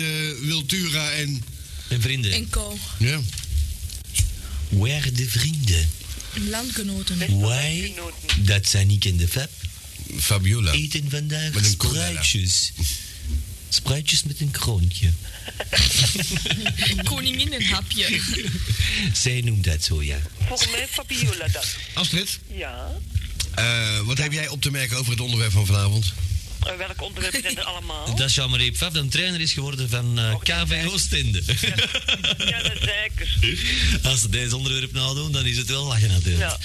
Eh, Wiltura en... En vrienden. En co. Ja. Waar de vrienden? Landgenoten. Wij, dat zijn ik in de fab, Fabiola. eten vandaag Met een cola. spruitjes. Spruitjes met een kroontje. Koninginnenhapje. Zij noemt dat zo, ja. Volgens mij Fabiola dat. Astrid, Ja. eh, wat heb jij op te merken over het onderwerp van vanavond? Eh, welke onderwerpen zijn er allemaal? Dat Jean-Marie Pfaff een trainer is geworden van Oh, eh, KV Oostende. Ja, dat zeikers. Als ze deze onderwerp nou doen, dan is het wel lachen Ja. natuurlijk.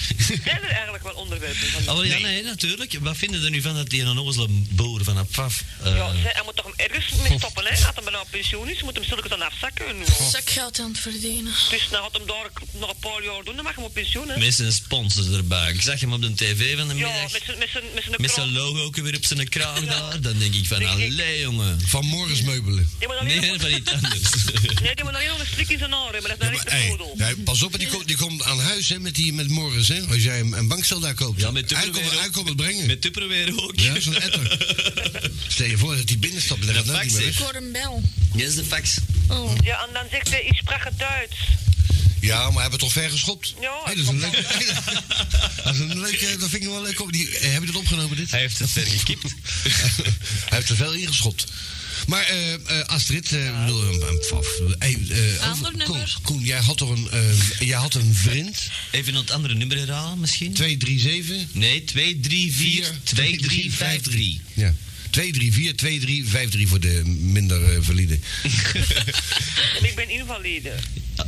Zijn er eigenlijk wel onderwerpen van? Oh, ja, nee, natuurlijk. Wat vinden er nu van dat die een onnozele boer van Pfaff... eh, Ja, zij- hij moet toch ergens mee stoppen, hè? Als hij nou op pensioen is, moet hem zulke dan afzakken. Oh. Dus Zakgeld aan het verdienen. nou had hem daar nog een paar jaar doen, dan mag hij op pensioen, hè? Met zijn sponsors erbij. Ik zag hem op de tv van de Ja, middag. met zijn met zijn met zijn Met zijn krant. logo ook weer op zijn kraan daar. Dan denk ik van, Denk ik- allee jongen. Van Morris Meubelen. Die moet alleen Nee, nog- van iets anders. Nee, die moet alleen nog een strik in zijn haar hebben, dat is Ja, nou maar, niet de hey, voordeel. nee, pas op, want die, komt- die komt aan huis hè, met, die, met Morris. Hè, als jij een, een bankstel daar koopt. Ja, met hij, komt, Tupperware hij ook. komt het brengen. Met Tupperware ook. Ja, zo'n etter. Stel je voor dat die binnenstapt. Dat Dat gaat nou niet fax, meer hè? weg. Voor een bel. Dit is de fax. Oh. Ja, en dan zegt hij, ik sprak het Duits. Ja, maar hij hebben toch ver geschopt? Ja, Hey, dat, is een leuk, dat, is een leuke- dat vind ik wel leuk. Op. Die, eh, heb je dat opgenomen, dit? Hij heeft het ver gekipt. Hij heeft er veel ingeschopt. Maar eh, eh, Astrid, eh, ik bedoel, eh, eh, paf, eh, eh, over- Ander nummer. Koen, Koen, jij had toch een, eh, jij had een vriend? Even het andere nummer herhalen misschien? 237 Nee, 2, 3, 4, 2, 3, 5, 3. Ja. 234 2353 voor de minder eh, valide. En ik ben invalide.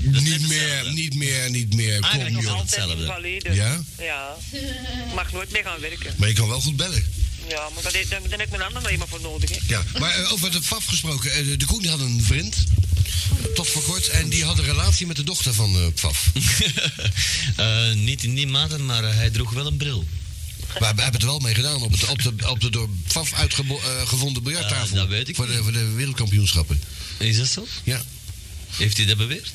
Niet meer, niet meer, niet meer. Kom, Eigenlijk nog joh. altijd. Altijd Hetzelfde. invalide. Ja? Ja. Mag nooit meer gaan werken. Maar je kan wel goed bellen. Ja, maar dat, dan, dan heb ik mijn handen alleen maar voor nodig, hè. Ja. Maar eh, over de FAF gesproken. eh, de- de Koen die had een vriend. Tot voor kort. En die had een relatie met de dochter van eh FAF. Eh, niet in die mate, maar eh, hij droeg wel een bril. Maar we hebben het wel mee gedaan op, het, op, de, op de door FAF uitgevonden biljarttafel. Ja, dat weet ik voor, de, niet. voor de wereldkampioenschappen. Is dat zo? Ja. Heeft hij dat beweerd?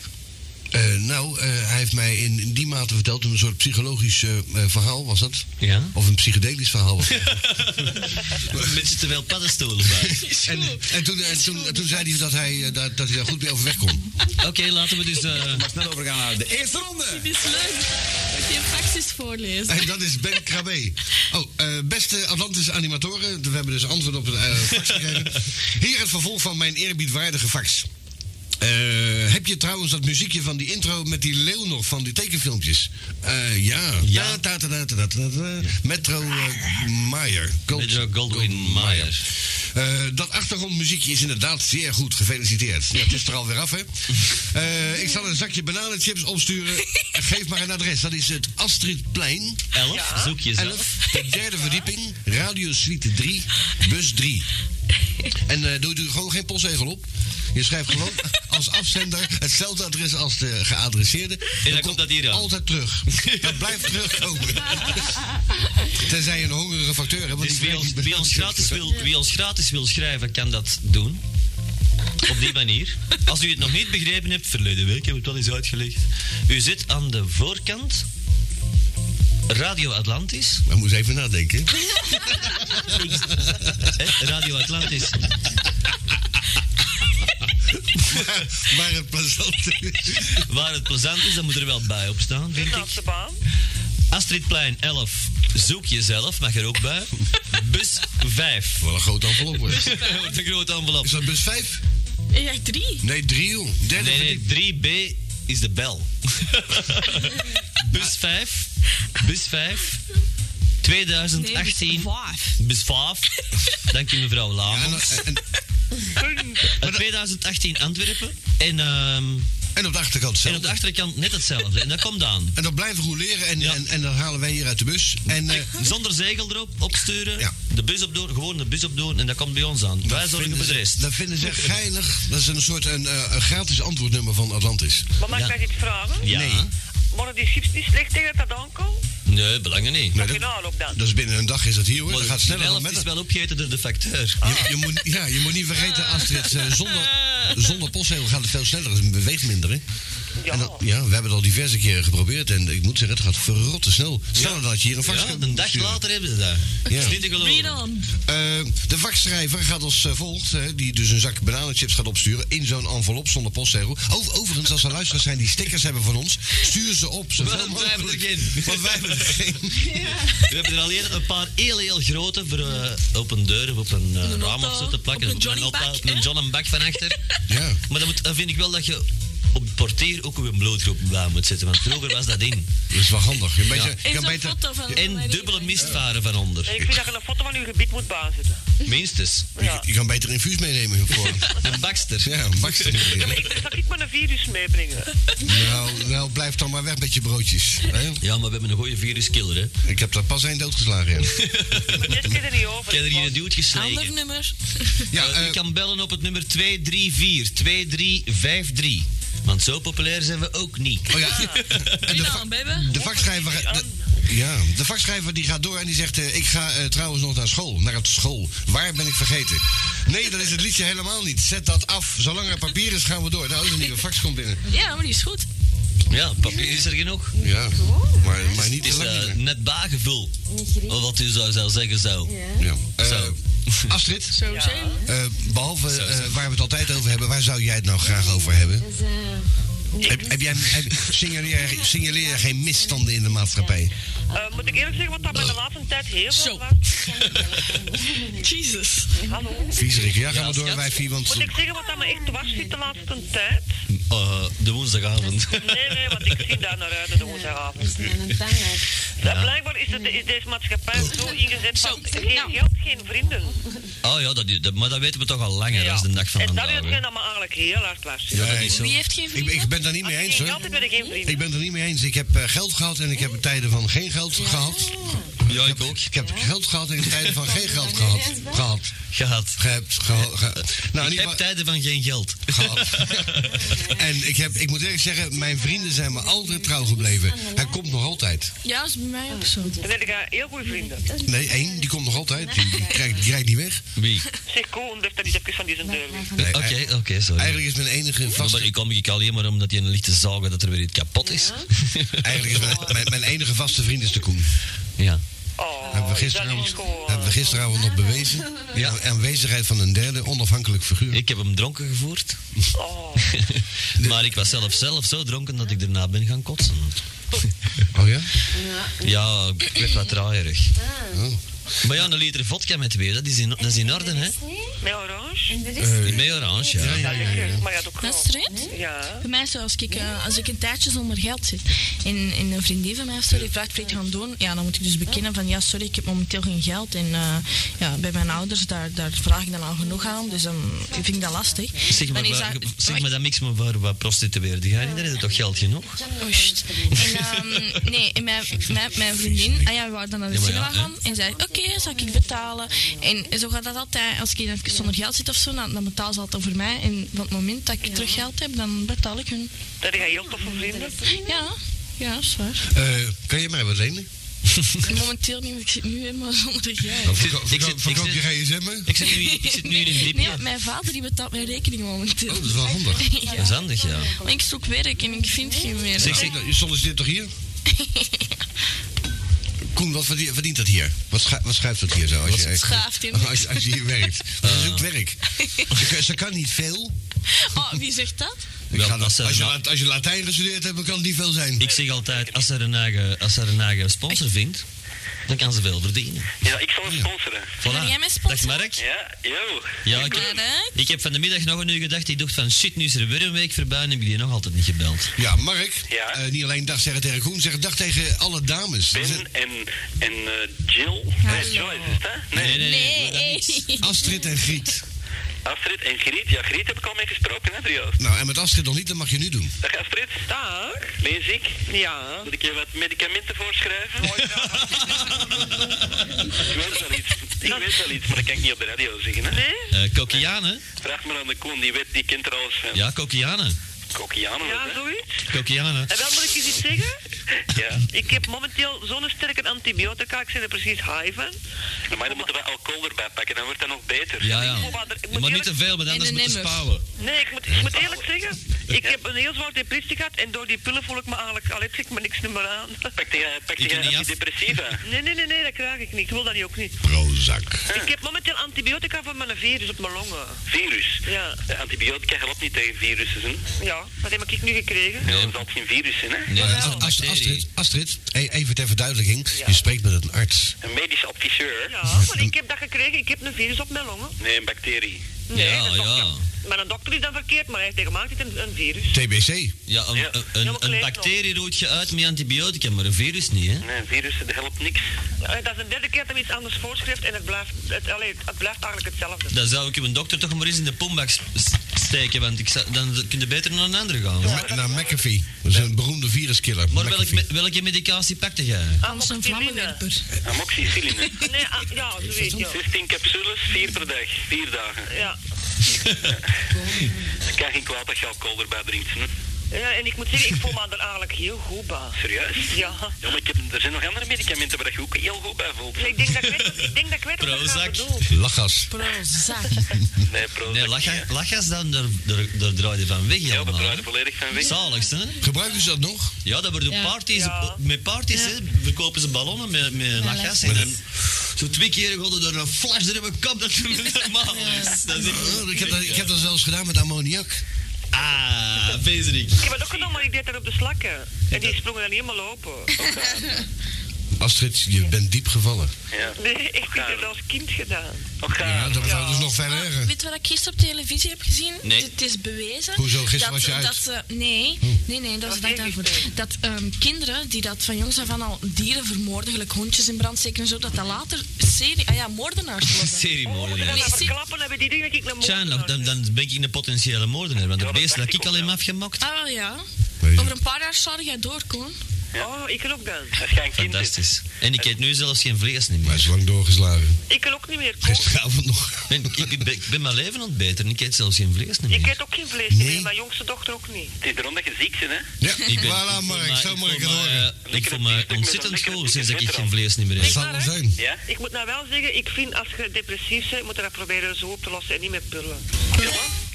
Eh, nou, eh, hij heeft mij in, in die mate verteld, een soort psychologisch eh, eh, verhaal was dat. Ja. Of een psychedelisch verhaal was dat. Een beetje te veel paddenstoelen bij. en, en, toen, en, toen, en toen zei hij dat hij, eh, dat, dat hij daar goed mee overweg kon. Oké, laten we dus... eh, Maar snel overgaan naar de eerste ronde. Dit is leuk. Moet je een faxjes voorlezen? En dat is Ben Krabbe. Oh, eh, beste Atlantische animatoren. We hebben dus antwoord op het eh, fax gekregen. Hier het vervolg van mijn eerbiedwaardige fax. Eh, heb je trouwens dat muziekje van die intro met die leeuw nog van die tekenfilmpjes? Eh, ja. Ja. Ta- ta- ta- ta- ta- ta- ta- Metro eh, Meyer. Gold- Metro Goldwyn Mayer. Eh, dat achtergrondmuziekje is inderdaad zeer goed. Gefeliciteerd. Ja, het is er alweer af, hè? Eh, ik zal een zakje bananenchips opsturen. Geef maar een adres. Dat is het Astridplein. 11, zoek jezelf. 11, de derde verdieping, Radio Suite 3, bus 3. En eh doe u gewoon geen postzegel op. Je schrijft gewoon als afzender hetzelfde adres als de geadresseerde. dan komt dat hier aan. Altijd terug. Dat blijft terugkomen. Tenzij je een hongerige facteur hebt. want die Dus wie weet ons, niet- wie, ons gratis wil, wie ons gratis wil schrijven, kan dat doen. Op die manier. Als u het nog niet begrepen hebt, verleden week hebben we het wel eens uitgelegd. U zit aan de voorkant. Radio Atlantis. Maar moet even nadenken. Hè? Radio Atlantis. Maar het plezante is. Waar het plezant is, dan moet er wel bij op staan, vind De ik. laatste baan. Astridplein 11. Zoek jezelf, mag er ook bij. Bus 5. Wat een grote envelop wordt. Wordt een grote envelop. Is dat bus 5? Ja, drie. Nee, 3 joh. Derde Nee, verdieping. nee, 3B is de bel. bus 5. Bus 5. dus 2018. Vijf. Bus 5. Dank je mevrouw Ja, en, eh, Lamans. en, Uit 2018 Antwerpen. En, ehm, en op de achterkant en op hetzelfde. de achterkant net hetzelfde. En dat komt aan. En dat blijven roleren en, Ja. en, en dat halen wij hier uit de bus. En eh, Zonder zegel erop, opsturen. Ja. De bus op doen, gewoon de bus op doen. En dat komt bij ons aan. Wij dat zorgen vinden voor de ze- rest. Dat vinden ze geinig. Dat is een soort een, eh, een gratis antwoordnummer van Atlantis. Maar mag ik Ja. mij iets vragen? Ja. Nee. Morgen die chips niet slecht tegen dat dat aankomt? Nee, belangen niet. Nee, Mag je dat, nou op dan? dat is Dus binnen een dag is dat hier hoor. Dat gaat sneller dan Elf met is dat. wel opgegeten door de facteur. Je, je moet, ja, je moet niet vergeten, Astrid, eh, zonder, zonder postzegel gaat het veel sneller. Het beweegt minder, hè? Ja. En dat- ja, we hebben het al diverse keren geprobeerd. En ik moet zeggen, het gaat verrotte snel. Sneller dan dat je hier een fax Ja, kunt een dag sturen. later hebben ze dat. Dat is niet te Read geloven. on. Eh, de vakschrijver gaat als eh, volgt, hè, die dus een zak bananenchips gaat opsturen in zo'n envelop zonder postzegel. Over, overigens, als er luisteraars zijn die stickers hebben van ons, stuur ze op. Zoveel Want wij hebben er mogelijk. geen. Want wij hebben er geen. We hebben er alleen een paar heel, heel grote voor eh, op een deur of op een eh, een raam auto, of zo te plakken. op een Johnny auto, Back, op een hè? John en Back van achter. Ja. Maar dan, moet, dan vind ik wel dat je op het portier ook op een blootgroep blauw moet zitten. Want vroeger was dat in. Dat is wel handig. Je beetje, Is kan een beter, foto van En dubbele mistvaren van onder. En ik vind dat je een foto van uw gebied moet bijzetten. Minstens. je, Ja. je kan beter infuus meenemen voor. Een bakster. Ja, een bakster. Ja, maar ik dacht dat ik maar een virus meebrengen. Nou, nou, blijf dan maar weg met je broodjes. Hè? Ja, maar we hebben een goede viruskiller, hè. Ik Ik heb daar pas één doodgeslagen. Ja, Maar dit keer er niet over. heb er hier een duwt Ander geslagen. nummer. ja Eh, eh, je kan bellen op het nummer 234-2353. Want zo populair zijn we ook niet. oh ja. En de, Read va- on, baby. de vakschrijver. de- ja, de vakschrijver die gaat door en die zegt: eh, Ik ga eh, trouwens nog naar school. Naar het school. Waar ben ik vergeten? Nee, dat is het liedje helemaal niet. Zet dat af. Zolang er papier is, gaan we door. Nou, de nieuwe fax komt binnen. Ja, maar die is goed. Ja, papier is er genoeg. Ja, maar, maar niet Het te is lang. eh, meer. net bagevul. Of wat u zou, zou zeggen zou. Ja. Eh, Zo. Astrid, Zo zijn. eh, behalve eh, waar we het altijd over hebben, waar zou jij het nou graag over hebben? Heb, heb jij, heb- signaleer, signaleer jij geen misstanden in de maatschappij? Eh, moet ik eerlijk zeggen, wat dat mij de laatste tijd heel Zo. veel was. Jesus. Hallo. Viezerik, ja, ga maar door, schat. wij vier, want... Moet ik zeggen wat dat me echt dwars zit de laatste tijd? Eh, de woensdagavond. Nee, nee, want ik zie daar naar uit de woensdagavond. Ja. Blijkbaar is, het, is deze maatschappij zo ingezet van geen geld, geen vrienden. Oh ja, dat, is- dat- maar dat weten we toch al langer. Dat is de dag van en dat is vandaag. hè. hetgeen dat me eigenlijk heel hard was. Ja, nee, is zo. Wie heeft geen ik, vrienden? ik ben daar niet mee eens, Als je geen hoor. geld hebt, ben je geen vrienden. Ik ben er niet mee eens. Ik heb eh, geld gehad en ik heb tijden van geen geld gehad. Ja, ik ook. Ik heb geld gehad en ik heb tijden van geen geld gehad. Gehad. Gehad. Gehebt. Geha, ge- nou, in ieder ik heb geval- tijden van geen geld. gehad. en ik, heb, ik moet eerlijk zeggen, mijn vrienden zijn me altijd trouw gebleven. Hij komt nog altijd. Ja, dat is bij mij ook zo. Dan heb ik eh, heel goede vrienden. Nee, één, die komt nog altijd. Die, die, krijgt, die rijdt niet weg. Wie? Zeg, Koen, durft dat niet even van die zijn deur. weg. Nee, Oké, ei- oké, sorry. Eigenlijk is mijn enige Maar vaste, ik kom ik alleen maar omdat hij een lichte zagen dat er weer iets kapot is. eigenlijk is mijn, mijn, mijn enige vaste vriend is de Koen. ja. Oh, Hebben we is dat gisteravond, niet schoon? hebben we gisteravond nog bewezen. Ja. De aanwezigheid van een derde onafhankelijk figuur. Ik heb hem dronken gevoerd. Oh, maar ik was zelf zelf zo dronken dat ik daarna ben gaan kotsen. Oh ja? Ja, ik werd wat draaierig. Oh. Maar ja, een liter vodka met weer, dat is in, dat is in orde, hè? met orange? Mee orange, ja. Ja, lekker. Maar ja, ook Dat wel. is erin? Ja. Bij mij is het als ik, eh, als ik een tijdje zonder geld zit en, en een vriendin van mij of zo die vraagt wat ik gaan doen, ja, dan moet ik dus bekennen van ja, sorry, ik heb momenteel geen geld. En eh, ja, bij mijn ouders, daar, daar vraag ik dan al genoeg aan, dus dan vind ik dat lastig. Zeg maar, dan waar- zeg maar dat niks maar voor wat prostitueerde. Ga je, daar is het toch geld genoeg? Oh, shit. En, ehm, nee, en mijn, mijn, mijn vriendin, ah ja, we waren dan naar de Ja, maar ja, cinema hè. gaan en zei, oké, zal ik betalen. En zo gaat dat altijd, als ik even zonder geld zit of zo, dan, dan betaal ze altijd voor mij. En op het moment dat ik terug geld heb, dan betaal ik hun. Dat is heel tof voor vrienden. Ja, ja, dat is waar. Eh, kan je mij wat lenen? Momenteel niet, want ik zit nu helemaal zonder geld. Nou, zit- verko- ik verko- zit- Verkoop ik je zit- gsm'en? Ik zit nu, ik zit nu in een Nee, want dipje. mijn vader die betaalt mijn rekening momenteel. Oh, dat is wel handig. Dat is handig, ja. Maar ik zoek werk en ik vind geen meer. Zeg, zeg, Nou, Je solliciteert toch hier? Koen, wat verdient, verdient dat hier? Wat, scha- wat schuift dat hier zo? Als je, schaaft in? als, als je hier werkt. Dat is ook werk. Ze, kan- ze kan niet veel. Oh, wie zegt dat? Ik Wel, ga dat- als ze- als, je, La- als je Latijn gestudeerd hebt, dan kan het niet veel zijn. Ik zeg altijd, als er een eigen, als er een eigen sponsor vindt, dan kan ze veel verdienen. Ja, ik zal hem sponsoren. Voilà. Wil jij mij Dag sponsoren? Mark. Ja, yo. Ja, ik, Mark. ik heb van de middag nog een uur gedacht. Ik dacht van shit, nu is er weer een week voorbij en heb ik die nog altijd niet gebeld. Ja, Mark. Ja? eh, niet alleen dag zeggen tegen Koen, zeg dag tegen alle dames. Dus, Er zijn Ben en, en eh, Jill. Ah, Nee, Joy is het, hè? Nee. Nee, eh, Astrid en Griet. Astrid en Griet. Ja, Griet heb ik al mee gesproken, hè, Drio. Nou, en met Astrid nog niet, dat mag je nu doen. Dag Astrid. Dag. Ben je ziek? Ja. Moet ik je wat medicamenten voorschrijven? ik weet wel iets. Ik weet wel iets, maar dat kan ik niet op de radio zeggen, hè? Nee? Eh, Kokianen? Vraag maar aan de Koen, die, weet, die kent er alles van. Ja, Kokianen. Kokianen, Ja, hè? zoiets. Kokiana. En wel, moet ik eens iets zeggen? Ja. Ik heb momenteel zo'n sterke antibiotica, ik zit er precies high van. Maar dan moeten we alcohol erbij pakken, dan wordt dat nog beter. Ja, ja. Oh, maar er- ik Je moet mag niet eerlijk- te veel, want En anders de moet je nemmers. spouwen. Nee, ik moet, ik moet Oh. eerlijk zeggen, ik heb een heel zwaar depressie gehad en door die pillen voel ik me eigenlijk al heb ik me niks meer aan. Pak jij pak Je kunt jij niet af. antidepressiva? Nee, nee, nee, nee, dat krijg ik niet. Ik wil dat niet ook niet. Prozac. Ah. Ik heb momenteel antibiotica voor mijn virus op mijn longen. Virus. Ja. De antibiotica helpt niet tegen virussen, hè? Ja, dat heb ik nu gekregen. Ja, dat is geen virus zijn, hè? Nee, dat is Ast- een Ast- Eh, Astrid, bacterie. Astrid, e- even ter verduidelijking. Ja. Je spreekt met een arts. Een medisch adviseur. Ja, maar ik heb dat gekregen. Ik heb een virus op mijn longen. Nee, een bacterie. Nee, Ja, een dokter- ja. Maar een dokter is dan verkeerd, maar hij heeft tegen mij gezegd, een, een virus. TBC. Ja, een, Ja. een- een, maar een kleed bacterie roeit je uit met antibiotica, maar een virus niet, hè? Nee, een virus dat helpt niks. Eh, Dat is de derde keer dat hij iets anders voorschrijft en het blijft, het, allee, het blijft eigenlijk hetzelfde. Dan zou ik een dokter toch maar eens in de pombak s- s- steken, want ik zou- dan kun je beter naar een andere gaan. Na naar nou, McAfee. Dat is een beroemde viruskiller. Maar welk, McAfee. me- welke medicatie pakte jij? Dat is een vlammenwerper. Amoxicilline. Nee, ah, ja, zo weet je. 16 capsules, 4 per dag, 4 dagen. Ja. Het kan geen kwaad dat je alcohol erbij drinkt. Hm, Hè? ja, en ik moet zeggen, ik voel me er eigenlijk heel goed bij. Serieus? Ja. Ja, maar ik heb, er zijn nog andere medicamenten waar je ook heel goed bij voelt. Nee, Ik denk dat ik weet, wat- ik denk dat ik weet wat ik Prozac. gaan bedoel. Lachgas. Prozac. Nee, pro. Nee, Ah. lacha- lachgas, dan, daar, daar, daar draai je van weg Ja, dat helemaal. draait hè? er volledig van weg. Zaligst, hè? Gebruiken ze dat nog? Ja, dat worden Ja. parties. Ja. Met parties, hè, verkopen ze ballonnen met, met lachgas. En dan, zo twee keer hadden er een flash door in mijn kop, dat het niet normaal is. Dat is echt- Oh, ik, heb dat, ik heb dat zelfs gedaan met ammoniak. Ah, Frederik. Ik heb het ook gedaan, maar ik deed daar op de slakken. En die sprongen dan helemaal open. Astrid, je bent diep gevallen. Ja. Nee, ik heb dat als kind gedaan. Ook Ja, gaan. dat zou dus nog verder Ah, erger. weet je wat ik gisteren op televisie heb gezien? Nee. Het is bewezen. Hoezo? Gisteren dat, was je uit. Dat, ze- nee, nee, nee, dat is dat Wat heb daarvoor. ik gezien? Dat ehm, kinderen die dat van jongs af aan al dieren vermoorden, gelijk hondjes in brand steken en zo, dat dat later serie, ah ja, moordenaars worden. Moeten Seriemoordenaar. we Nee, dat zie- Oh, verklappen, hebben die dingen dat ik naar Tjana, dan, dan ben ik een potentiële moordenaar, want het Ja, dat beest dat dacht ik ik ook, alleen ja. maar afgemokt. Ah ja. Nee. Over een paar jaar sla jij door, Koen. Oh, ik kan ook dan. Als je een kind is. Fantastisch. En ik eet nu zelfs geen vlees niet Maar hij meer. is lang doorgeslagen. Ik kan ook niet meer koken. Gisteravond nog. Ik ben, ik ben- ik ben mijn leven aan het beteren en ik eet zelfs geen vlees niet Ik meer. eet ook geen vlees meer, Nee. mijn jongste dochter ook niet. Het is erom dat je ziek bent, hè? Ja, voilà Ik ben- ik voel Mark, mij- zo moet ik het voel mij, horen. eh, Ik voel Lekker me biefstuk met een ontzettend lekkere cool sinds dat ik biefstuk geen vlees niet meer Het eet. zal wel zijn. Ja? Ik moet nou wel zeggen, ik vind als je depressief bent, moet je dat proberen zo op te lossen en niet met pillen.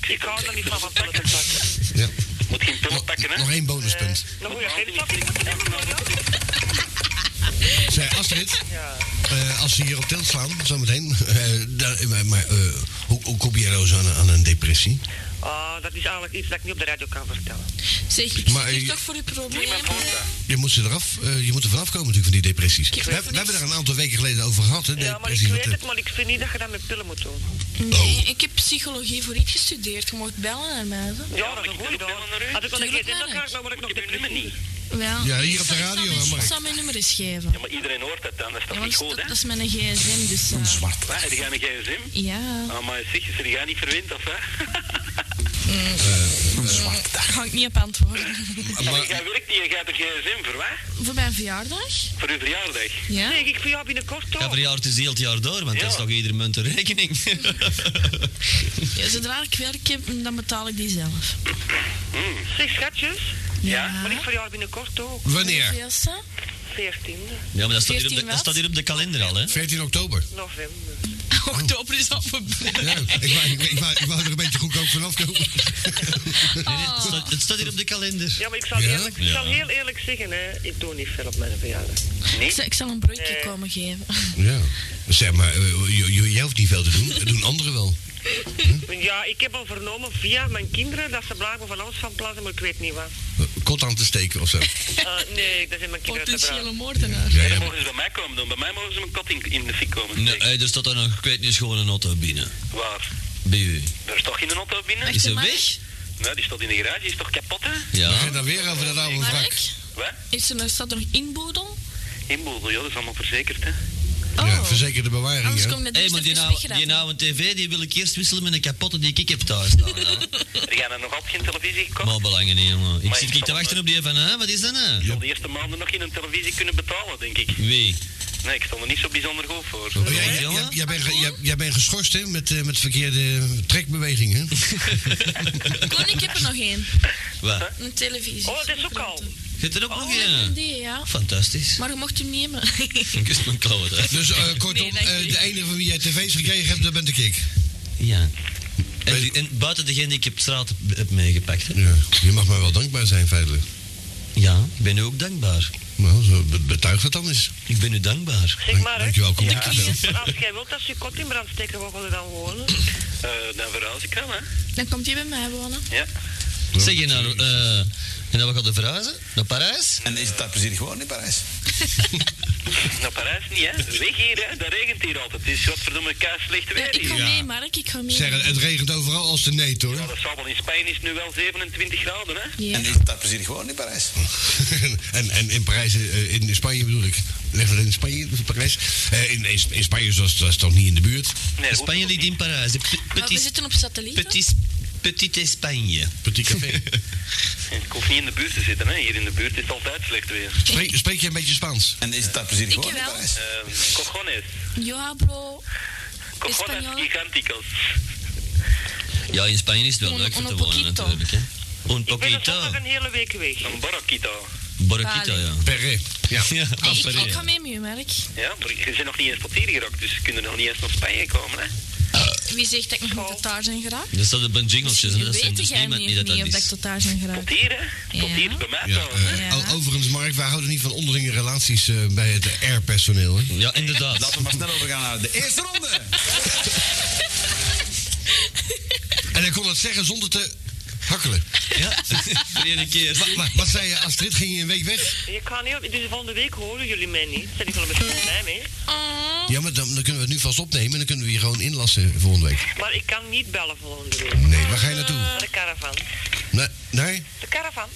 Ik hou er niet van van pillen te pakken. Eh, Ja. Moet geen pillen pakken, hè? Nog één bonuspunt. Nog goeie grensafdeling moeten hebben, maar ja. Zij Astrid, eh, als ze hier op tilt slaan, zometeen. eh, daar- maar maar, eh, hoe, hoe kom je nou zo aan, aan een depressie? Ah, dat is eigenlijk iets dat ik niet op de radio kan vertellen. Zeg, ik Maar, zit eh, hier toch voor uw probleem. Je moet, ze eraf, eh, je moet er vanaf komen natuurlijk van die depressies. We, Ik weet hebben- het we hebben niet. er een aantal weken geleden over gehad. Hè, Ja, maar ik depressie, weet wat, het, maar ik vind niet dat je dat met pillen moet doen. Nee, Oh. ik heb psychologie voor iets gestudeerd. Je mocht bellen naar mij. hè. Ja, maar dat is een ik doe goede ook dag. wel naar u. Had ik nog een Tuurlijk, keer in Mark. elkaar, dan word ik nog Ik doe nummer depressief. niet. Wel, Ja, hier ik op de zal- ik zal radio, mijn- hè, Mark. Ik zal mijn nummer eens geven. Ja, maar iedereen hoort dat dan, dat is toch Ja, niet want dat, goed, hè? dat is mijn gsm, dus... eh, Zwart. Waar, heb jij een gsm? ja, Ah, maar zeg, ze gaan niet verwend, of wat? daar ga ik niet op antwoorden. Maar jij werkt niet, jij hebt een gsm, voor wat? voor mijn verjaardag? Voor uw verjaardag. Ja. Nee, ik vind jou binnenkort Ja, toch. verjaardag is heel het jaar door, want dat is Ja. toch ieder munt een rekening. Ja, Zodra ik werk heb, dan betaal ik die zelf. Zeg schatjes, Ja, maar ik voor jou binnenkort ook. Wanneer? Hoeveelste? 14 Ja, maar dat staat, hier op de, 14 dat staat hier op de kalender al, hè? 14 oktober. november. Oh. Oktober is al voorbij. Ja, ik, wou, ik, wou- ik, wou, ik wou er een beetje goedkoop vanaf komen. Nee, nee, het, staat, het staat hier op de kalender. Ja, maar ik zal, Ja? eerlijk, ik Ja. zal heel eerlijk zeggen, hè, ik doe niet veel op mijn verjaardag. Ik zal, ik zal een broodje komen geven. Ja. Zeg maar, eh, j- j- jij hoeft niet veel te doen. Dat doen anderen wel. Ja, ik heb al vernomen via mijn kinderen dat ze blijkbaar van alles van plan zijn, maar ik weet niet wat. Kot aan te steken of zo. Eh, nee, dat zijn mijn kinderen te braaf. Potentiële moordenaar. Ja, En ja, dan maar- mogen ze bij mij komen doen. Bij mij mogen ze mijn kot in, in de fik komen. Nee, steken. hey, er staat daar nog, ik weet niet, gewoon een auto binnen. Waar? Bij u. Er is toch geen auto binnen? Is hè, ze Mark? weg? Nou, die staat in de garage, die is toch kapot, hè? Ga je Ja. dan weer over dat oude wrak? Mark, Wat? is er, staat er nog inboedel? Inboedel, ja, dat is allemaal verzekerd, hè? Oh, Ja, verzekerde bewaring, anders hè? kom je Hé, dus maar die even nou- die wegraden. oude tv die wil ik eerst wisselen met een kapotte die ik heb thuis Nou, staan. hè. Er gaan er nog altijd geen televisie gekocht. Maar belangen niet, jongen. Ik Maar zit ik niet te zal, wachten eh, op die van, hè? Wat is dat nou? Ik zal de eerste maanden nog geen televisie kunnen betalen, denk ik. Wie? Nee, ik stond er niet zo bijzonder goed voor. Oh, jij, jij, jongen? jij- jij bent, ge- jij, jij bent geschorst hè, met, eh, met verkeerde trekbewegingen. Koen, Oh, ik heb er nog één. Wat? Een televisie. Oh, dat is ook al. Zit er ook Oh, nog een? Die, ja. Fantastisch. Maar je mocht hem nemen. Kust mijn klauwen uit. Dus eh, kortom, dank eh, je. de enige van wie jij tv's gekregen hebt, dat ben ik ik. Ja. En, die- en buiten degene die ik op straat heb- heb meegepakt. hè? Ja, je mag mij wel dankbaar zijn, feitelijk. Ja, ik ben u ook dankbaar. Nou, zo be- betuig dat dan eens. Ik ben u dankbaar. Zeg maar, hè. Dankjewel, Koen. Ja. Dankjewel. Als jij wilt dat ze je kot in brand steken, waar wil je dan wonen? Eh, dan verhuis ik dan, hè. Dan komt hij bij mij wonen. Ja. Zeg je nou, eh, en dan we gaan verhuizen? Naar Parijs? En is het daar precies gewoon in Parijs? Naar Parijs niet, hè. Weg hier, hè. Dat regent hier altijd. Het is godverdomme kaas slecht Ja, weer ik ga hier. mee, Mark. Ik ga mee. Zeg, het regent overal als de neet, Ja, hoor. dat zal wel. In Spanje is het nu wel 27 graden, hè. Ja. En is het daar precies gewoon in Parijs? en, en in Parijs, eh, in Spanje bedoel ik. Leg dat in Spanje, in Parijs. Eh, in, in, in Spanje was dat toch niet in de buurt. Nee, dat Spanje hoeft ligt toch in Parijs. De pe- Maar we Petit, zitten op satelliet. hè? petit, petite Spanje. Petit café. niet. Ik hoef niet in de buurt te zitten, hè. Hier in de buurt is het altijd slecht weer. Spreek, spreek je een beetje Spaans? En is het daar precies Ik gewoon in wel. Parijs? Eh, cojones. Ja, bro. Cojones Espanol. giganticos. Ja, in Spanje is het wel Un- leuk voor un te wonen poquito. natuurlijk. Hè. Un Ik ben er zondag poquito. een hele week weg. Een barraquito. Borraquito, ja. Perret. Ja. Ja, Nee, Ah, ik, afferré. ik ga mee met je, Mark. Ja, maar je bent nog niet eens tot hier geraakt, dus je kunt nog niet eens naar Spanje komen, hè. Wie zegt dat ik nog Oh. tot daar zijn geraakt? Dat staat op een jingletje, hè. Misschien dat zijn weet dus jij niemand niet niet of dat dat niet of dat ik is. tot daar zijn geraakt. Tot hier, hè. Tot Ja. hier, bij mij Ja, trouwens. hè. eh, Ja. o- Overigens, Mark, wij houden niet van onderlinge relaties eh, bij het airpersoneel. Hè? Ja, inderdaad. Laten we maar snel overgaan naar de eerste ronde. En ik kon dat zeggen zonder te hakkelen. Ja, voor de ene keer. Wa- wa- wat zei je, Astrid? Ging je een week weg? Ik ga niet op, dus volgende week horen jullie mij niet. Daar ben ik wel een beetje blij mee. Oh, Ja, maar dan, dan kunnen we het nu vast opnemen en dan kunnen we je gewoon inlassen volgende week. Maar ik kan niet bellen volgende week. Nee, waar ga je naartoe? Naar de caravan. Nee? nee? De caravan.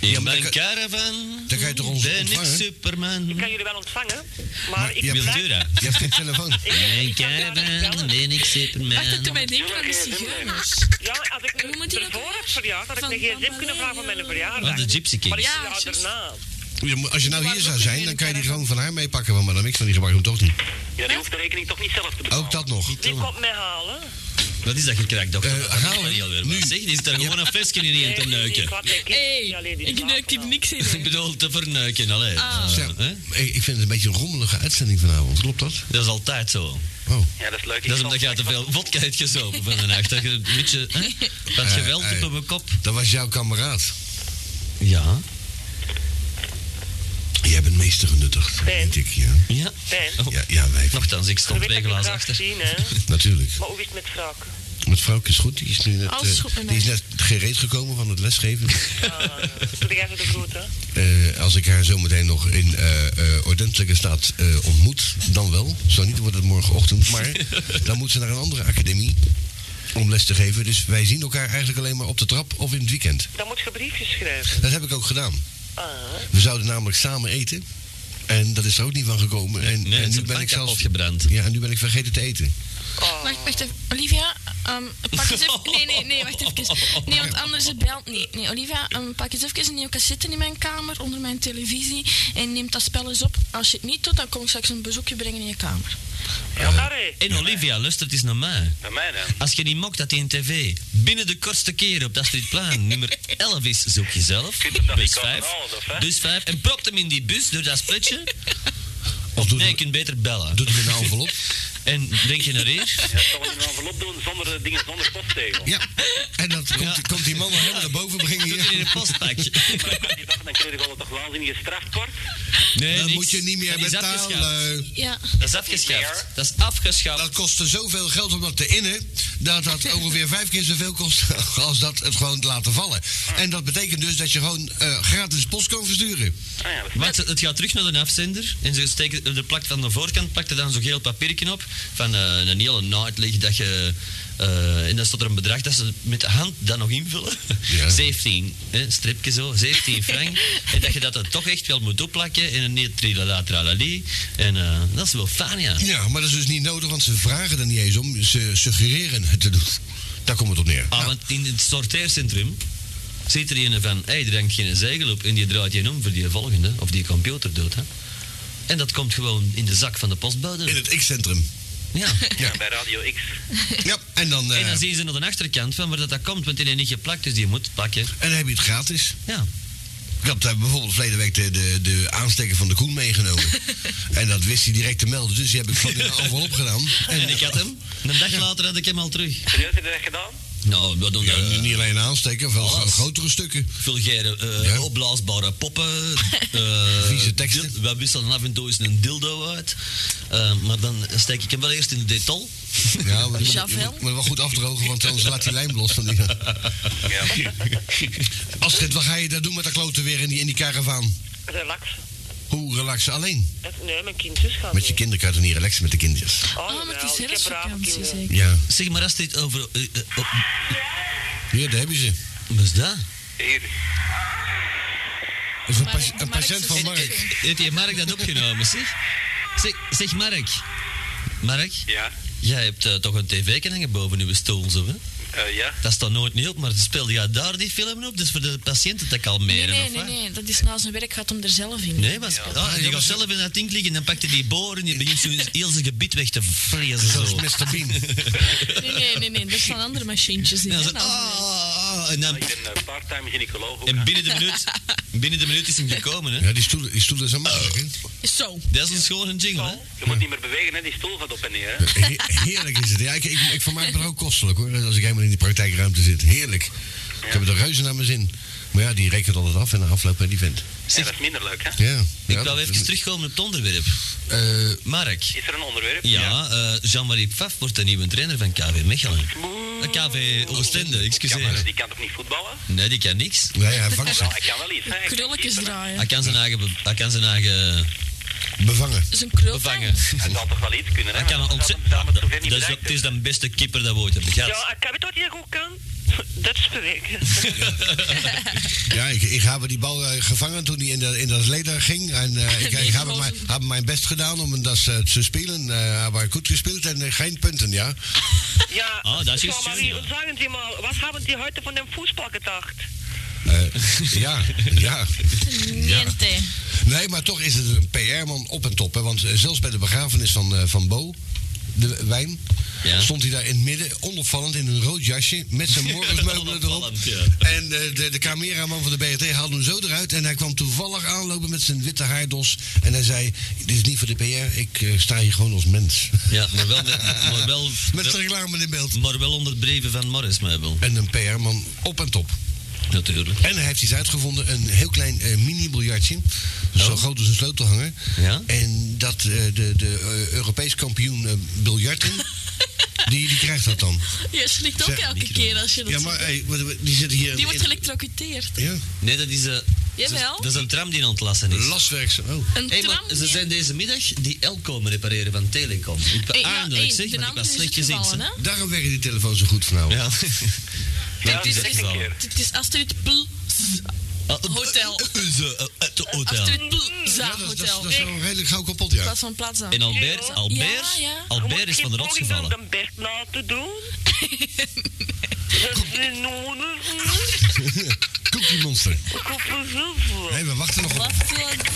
In maar mijn dan caravan dan kan je toch ons ben ik ontvangen? Superman. Ik kan jullie wel ontvangen, maar, Maar ik je blijf... hebt- Wildura. Je hebt geen telefoon. Ik, In mijn ik kan daar niet caravan bellen. ben ik Wacht, dat doet Superman. mij denken aan de zigeuners. Ja, als ik Hoe moet nu die ook ervoor weer? had verjaard, had ik Van een gsm Bambaleo. kunnen vragen van mijn Oh, verjaardag. de Gypsy Maar ik Ja, Kings. ja, juist. daarna. Je moet- Als je nou Maar hier dat zou is ook zijn, weer dan een kan je die caravan. gewoon van haar meepakken, want madame X van die gebruikt hem toch niet. Ja, die hoeft de rekening toch niet zelf te betalen. Ook dat nog. Die komt mij halen. Wat is dat gekraakt, dokter? Eh, Dat kan haal ik hem. niet alweer. Nu. Wat Zeg, die zit daar gewoon een flesje in Nee, te Ik neuken. had mijn kind Hé, niet alleen die ik neuk die slapen niks in. Ik bedoel, te verneuken, allee. Eh, Ah. Zeg, hè? ik, ik vind het een beetje een rommelige uitzending vanavond, klopt dat? Dat is altijd zo. Oh. Ja, dat is leuk. Dat is omdat je te veel vodka hebt gezopen van de nacht. Dat je een beetje... hè, Dat Eh, geweld op eh. mijn kop. Dat was jouw kameraad. Ja. Jij bent meester genuttigd, Ben. denk ik, ja. Ja. Ben. Oh, Ja, ja wij. Nochtans, ik Je stond weet twee dat ik glazen graag achter. zien, hè. Natuurlijk. Maar hoe is het met wraak? Met vrouwke is goed, die is nu net, Alles eh, goed met die is mij. net gereed gekomen van het lesgeven. Ah, Doe jij zo de groeten? Eh, als ik haar zometeen nog in eh, eh, ordentelijke staat eh, ontmoet, dan wel. Zo niet wordt het morgenochtend, maar dan moet ze naar een andere academie om les te geven. Dus wij zien elkaar eigenlijk alleen maar op de trap of in het weekend. Dan moet je briefjes schrijven. Dat heb ik ook gedaan. Ah. We zouden namelijk samen eten. En dat is er ook niet van gekomen. En, Nee, en het nu is ben ik zelfs... opgebrand. Ja, en nu ben ik vergeten te eten. Oh. Wacht, wacht even. Olivia, ehm, pak eens even... Nee, nee, nee, wacht even. Nee, want anders het belt niet. Nee, Olivia, ehm, pak eens even een nieuwe cassette in mijn kamer, onder mijn televisie, en neem dat spel eens op. Als je het niet doet, dan kom ik straks een bezoekje brengen in je kamer. Ja, maar hé. En Olivia, luistert eens naar mij. Naar mij, hè. Als je niet mokt dat die in tv binnen de kortste keer op dat Astridplein nummer 11 is, zoek jezelf. kunt hem dan Bus niet komen 5. halen, of hè? Bus 5. En propt hem in die bus door dat splitje. Of doet, Nee, je het, kunt beter bellen. doet het in een envelop? En denk je naar hier? Ja, zal we een envelop doen zonder eh, dingen, zonder postzegel. Ja. En dan komt, Ja. komt die man naar helemaal naar boven brengen Doe het in hier. een postpak. Maar dan kan je toch, dan krijg je wel toch waanzinnige strafkort. Nee, Dan niks. moet je niet meer Dat is afgeschaft. betalen. Ja. Oh, Dat is afgeschaft. Dat is afgeschaft. Dat kostte zoveel geld om dat te innen, dat dat ongeveer vijf keer zoveel kost als dat het gewoon te laten vallen. En dat betekent dus dat je gewoon eh, gratis post kan versturen. Ah ja, dat Want het het gaat terug naar de afzender. En ze steken de plakt aan de voorkant, plakt er dan zo'n geel papiertje op. Van eh, een hele nightlicht dat je. eh, en dan staat er een bedrag dat ze met de hand dan nog invullen. Ja. 17, hè, stripje zo, 17 frank. en dat je dat dan toch echt wel moet opplakken. En een nee, trilala, tralali. En eh, dat is wel fijn, ja. Ja, maar dat is dus niet nodig, want ze vragen er niet eens om. Ze suggereren het te doen. Daar komt het op neer. Ah, Nou, want in het sorteercentrum zit er een van, hé, hey, er hangt geen zegel op en die draait je om voor die volgende, of die computer doet, hè. En dat komt gewoon in de zak van de postbode. In het X-centrum. Ja. Ja, bij Radio X. Ja, en dan, eh, En dan en zien ze naar de achterkant van waar dat, dat komt, want die is niet geplakt, dus die moet het plakken. dan heb je het gratis. Ja. Ik had eh, bijvoorbeeld verleden week de, de, de aansteker van de Koen meegenomen. en dat wist hij direct te melden, dus die heb ik van in de aanval opgedaan. En ik had hem. Een dag later had ik hem al terug. Serieus, heb je dat gedaan? Nou, we doen Ja, daar niet alleen een aansteker, wel Alles. grotere stukken. vulgaire, eh, Ja. opblaasbare poppen. eh, Vieze teksten. dil- We wisselen af en toe eens een dildo uit. Eh, maar dan steek ik hem wel eerst in de detail. Ja, maar je moet, je Javel. moet- maar wel goed afdrogen, want anders laat die lijm los van die. Ja. Astrid, wat ga je daar doen met dat klote weer in die, in die karavaan? Relax. Hoe relaxen alleen? Nee, mijn kindjes gaan Met je mee. kinderen kan je toch niet relaxen met de kindjes? Oh, Ah, maar jawel, het is ik heb brave herfstvakantie kinderen. zeker. Ja. Zeg maar, als dit over... eh, eh, op- Hier, daar heb je ze. wat is dat? Hier. Dat is een, Mark- pas- een Mark patiënt is van een Mark. stuk. Heeft je Mark dat opgenomen, zeg? Zeg, zeg Mark. Mark, Ja. jij hebt eh, toch een tv kunnen hangen boven uw stoel, zo, hè? Eh, ja. Dat staat nooit niet op, maar speelde jij daar die film op? Dus voor de patiënten te Nee, kalmeren, nee, of nee, wat? nee. Dat is na zijn werk gaat om er zelf in. Nee, was, ah, die maar gaat ze- zelf in dat ding liggen en dan pakte die boor en die begint zo heel zijn gebied weg te vrezen. Dat is Zo. Mr. Bean. Nee, nee, nee. nee. Er staan andere machientjes in. En dan hè, zo, naast nou. mijn werk. ah, ah, en dan- Ik ben eh, part-time gynaecoloog ook. hè. en binnen de minuut, binnen de minuut is hem gekomen, hè. Ja, die stoelen, die stoelen zijn makkelijk, hè? Zo. Dat is een schone jingle, hè. Je moet niet meer bewegen, hè? die stoel gaat op en neer. Hè? He- Heerlijk is het. Ja, ik, ik, ik vermaak me er ook kostelijk, hoor. Als ik helemaal in die praktijkruimte zit. Heerlijk. Ik heb het er reuze naar mijn zin. Maar ja, die rekent altijd af en de afloop en die vent. Ja, dat is minder leuk, hè? Ja. Ik wou even terugkomen op het onderwerp. Eh, Mark. Is er een onderwerp? Ja, eh, Jean-Marie Pfaff wordt de nieuwe trainer van KV Mechelen. Eh, KV Oostende, Ja, maar excuseer. die kan toch niet voetballen? Nee, die kan niks. nou ja, vang Wel, ze. hij kan wel iets, hè? Hij kan Krulletjes keeper, hè. draaien. Hij kan zijn eigen, be- hij kan zijn eigen Bevangen. Zijn krul. bevangen. Hij zal toch wel iets kunnen, hè? Hij kan een Want ontzettend... dat- dat- dat- dat- dat is- Het is de beste keeper dat we ooit hebben gehad. Ja, ik heb het wat hier goed kan. Dat is bewegen. Ja, ik, ik heb die bal eh, gevangen toen hij in, de, in dat leder ging. En eh, ik, ik heb mijn, heb mijn best gedaan om dat eh, te spelen. eh heb goed gespeeld en eh, geen punten, ja. Ja, Ah, dat is ja, juist, maar wie- ja. sagen Sie mal, was haben Sie heute von dem Fußball gedacht? Eh, ja, ja. Niente. Nee, maar toch is het een PR-man op en top. Hè? Want eh, zelfs bij de begrafenis van, eh, van Bo, de wijn, Ja. stond hij daar in het midden, onopvallend in een rood jasje, met zijn morgensmeubelen erop. Onopvallend, ja. En eh, de, de cameraman van de BRT haalde hem zo eruit. En hij kwam toevallig aanlopen met zijn witte haardos. En hij zei, dit is niet voor de PR, ik eh, sta hier gewoon als mens. Ja, maar wel, met, maar wel, Met zijn reclame in beeld. maar wel onder brieven van Morris Meubel. En een PR-man op en top. Natuurlijk. En hij heeft iets uitgevonden, een heel klein eh, mini-biljartje. Zo Oh. groot als een sleutelhanger. Ja. En dat eh, de, de eh, Europees kampioen eh, biljarten, die, die krijgt dat dan. Je slikt ook Zeg, elke keer als je dat Ja, maar hey, wat- wat- die zit hier... Die wordt in- geëlectrocuteerd. ja, Nee, dat is, eh Jawel. dat is een tram die aan het lassen is. laswerks. Oh. Een Hey, maar tram. ze die- zijn deze middag die L komen repareren van Telecom. Ik ben Hey, nou, aandelijk hey, zeg, de maar ik andere was is slecht het gezien. gevallen, zeg. Daarom werken die telefoons zo goed vanavond. Ja. Ja, Dat dat is is echt echt een gevallen. keer. Het is Astrid Plza Ah, eh, Hotel. eh, eh, eh, eh, Het hotel. Astrid Plza dat, dat, dat Hotel. is In wel redelijk gauw kapot, ja. plaats van Plaza. En Albert, Ja, Albert, ja. Je Albert moet is van de geen rots poging gevallen. doen om de best laten doen. Dat is een nodig. Cookie Monster. Ik hoop er veel voor. Nee, we wachten nog op. Wat wil ik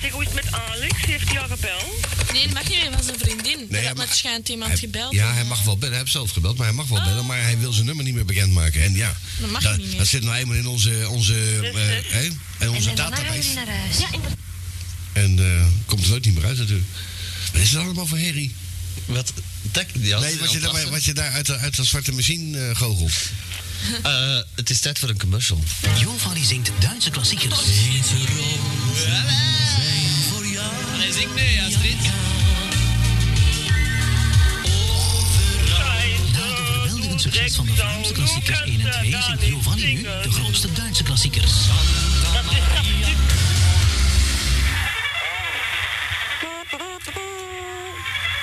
Zeg, hoe is het met Alex? Heeft hij al gebeld? doen? Nee, dat mag niet meer van zijn vriendin. hij Nee, dat mag- net schijnt iemand Hij- gebeld. Oh. Ja, hij mag wel bellen. Hij heeft zelf gebeld, maar hij mag wel bellen. Maar hij wil zijn nummer niet meer bekendmaken. En ja, Dat mag niet meer. dat zit nou eenmaal in onze, onze, eh, hè, en onze database. En eh, komt er nooit niet meer uit natuurlijk. Wat is dat allemaal voor herrie? Wat? Dat, ja, Nee, wat je, daar, aanpassen. wat je daar uit de, uit de zwarte machine eh, goochelt. Eh, het is tijd voor een commercial. Jovani zingt Duitse klassiekers. Hij zingt mee, Astrid. Na het overweldigend succes van de Vlaamse klassiekers 1 en 2 zingt Giovanni nu de grootste Duitse klassiekers. Toch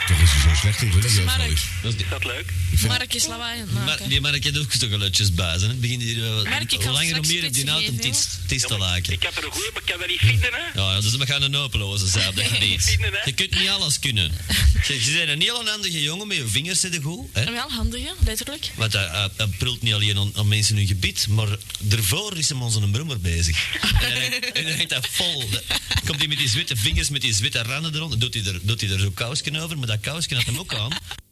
nou is hij zo slecht in, weet ik zelf wel Mark. niet. Dat is die- Is dat leuk? Mark is lawaai aan het Maar, maken. die Mark heeft ook toch geluidjes bij zijn. hè? Het begint hier wel Mark, ik hoe kan langer hoe straks meer op die spitsen auto geven, tis- tis te Ja, maar ik- laken. Ik heb er een goeie, maar ik kan er niet vinden, hè? Ja, ja, dus we gaan een hopeloze zijn, dat je niet. Vinden, hè? Je kunt niet alles kunnen. Je, je bent een heel handige jongen, met je vingers zitten goed. Hè? Wel handig, hè, letterlijk. Want hij, hij, hij eh, brult niet alleen aan, aan mensen in hun gebied, maar daarvoor is hem onze een brummer bezig. En dan hangt- en dan hangt hij vol. Dan komt hij met die witte vingers, met die witte randen eronder. Doet hij er, doet hij er zo kousken over, maar dat kousken had hem ook aan.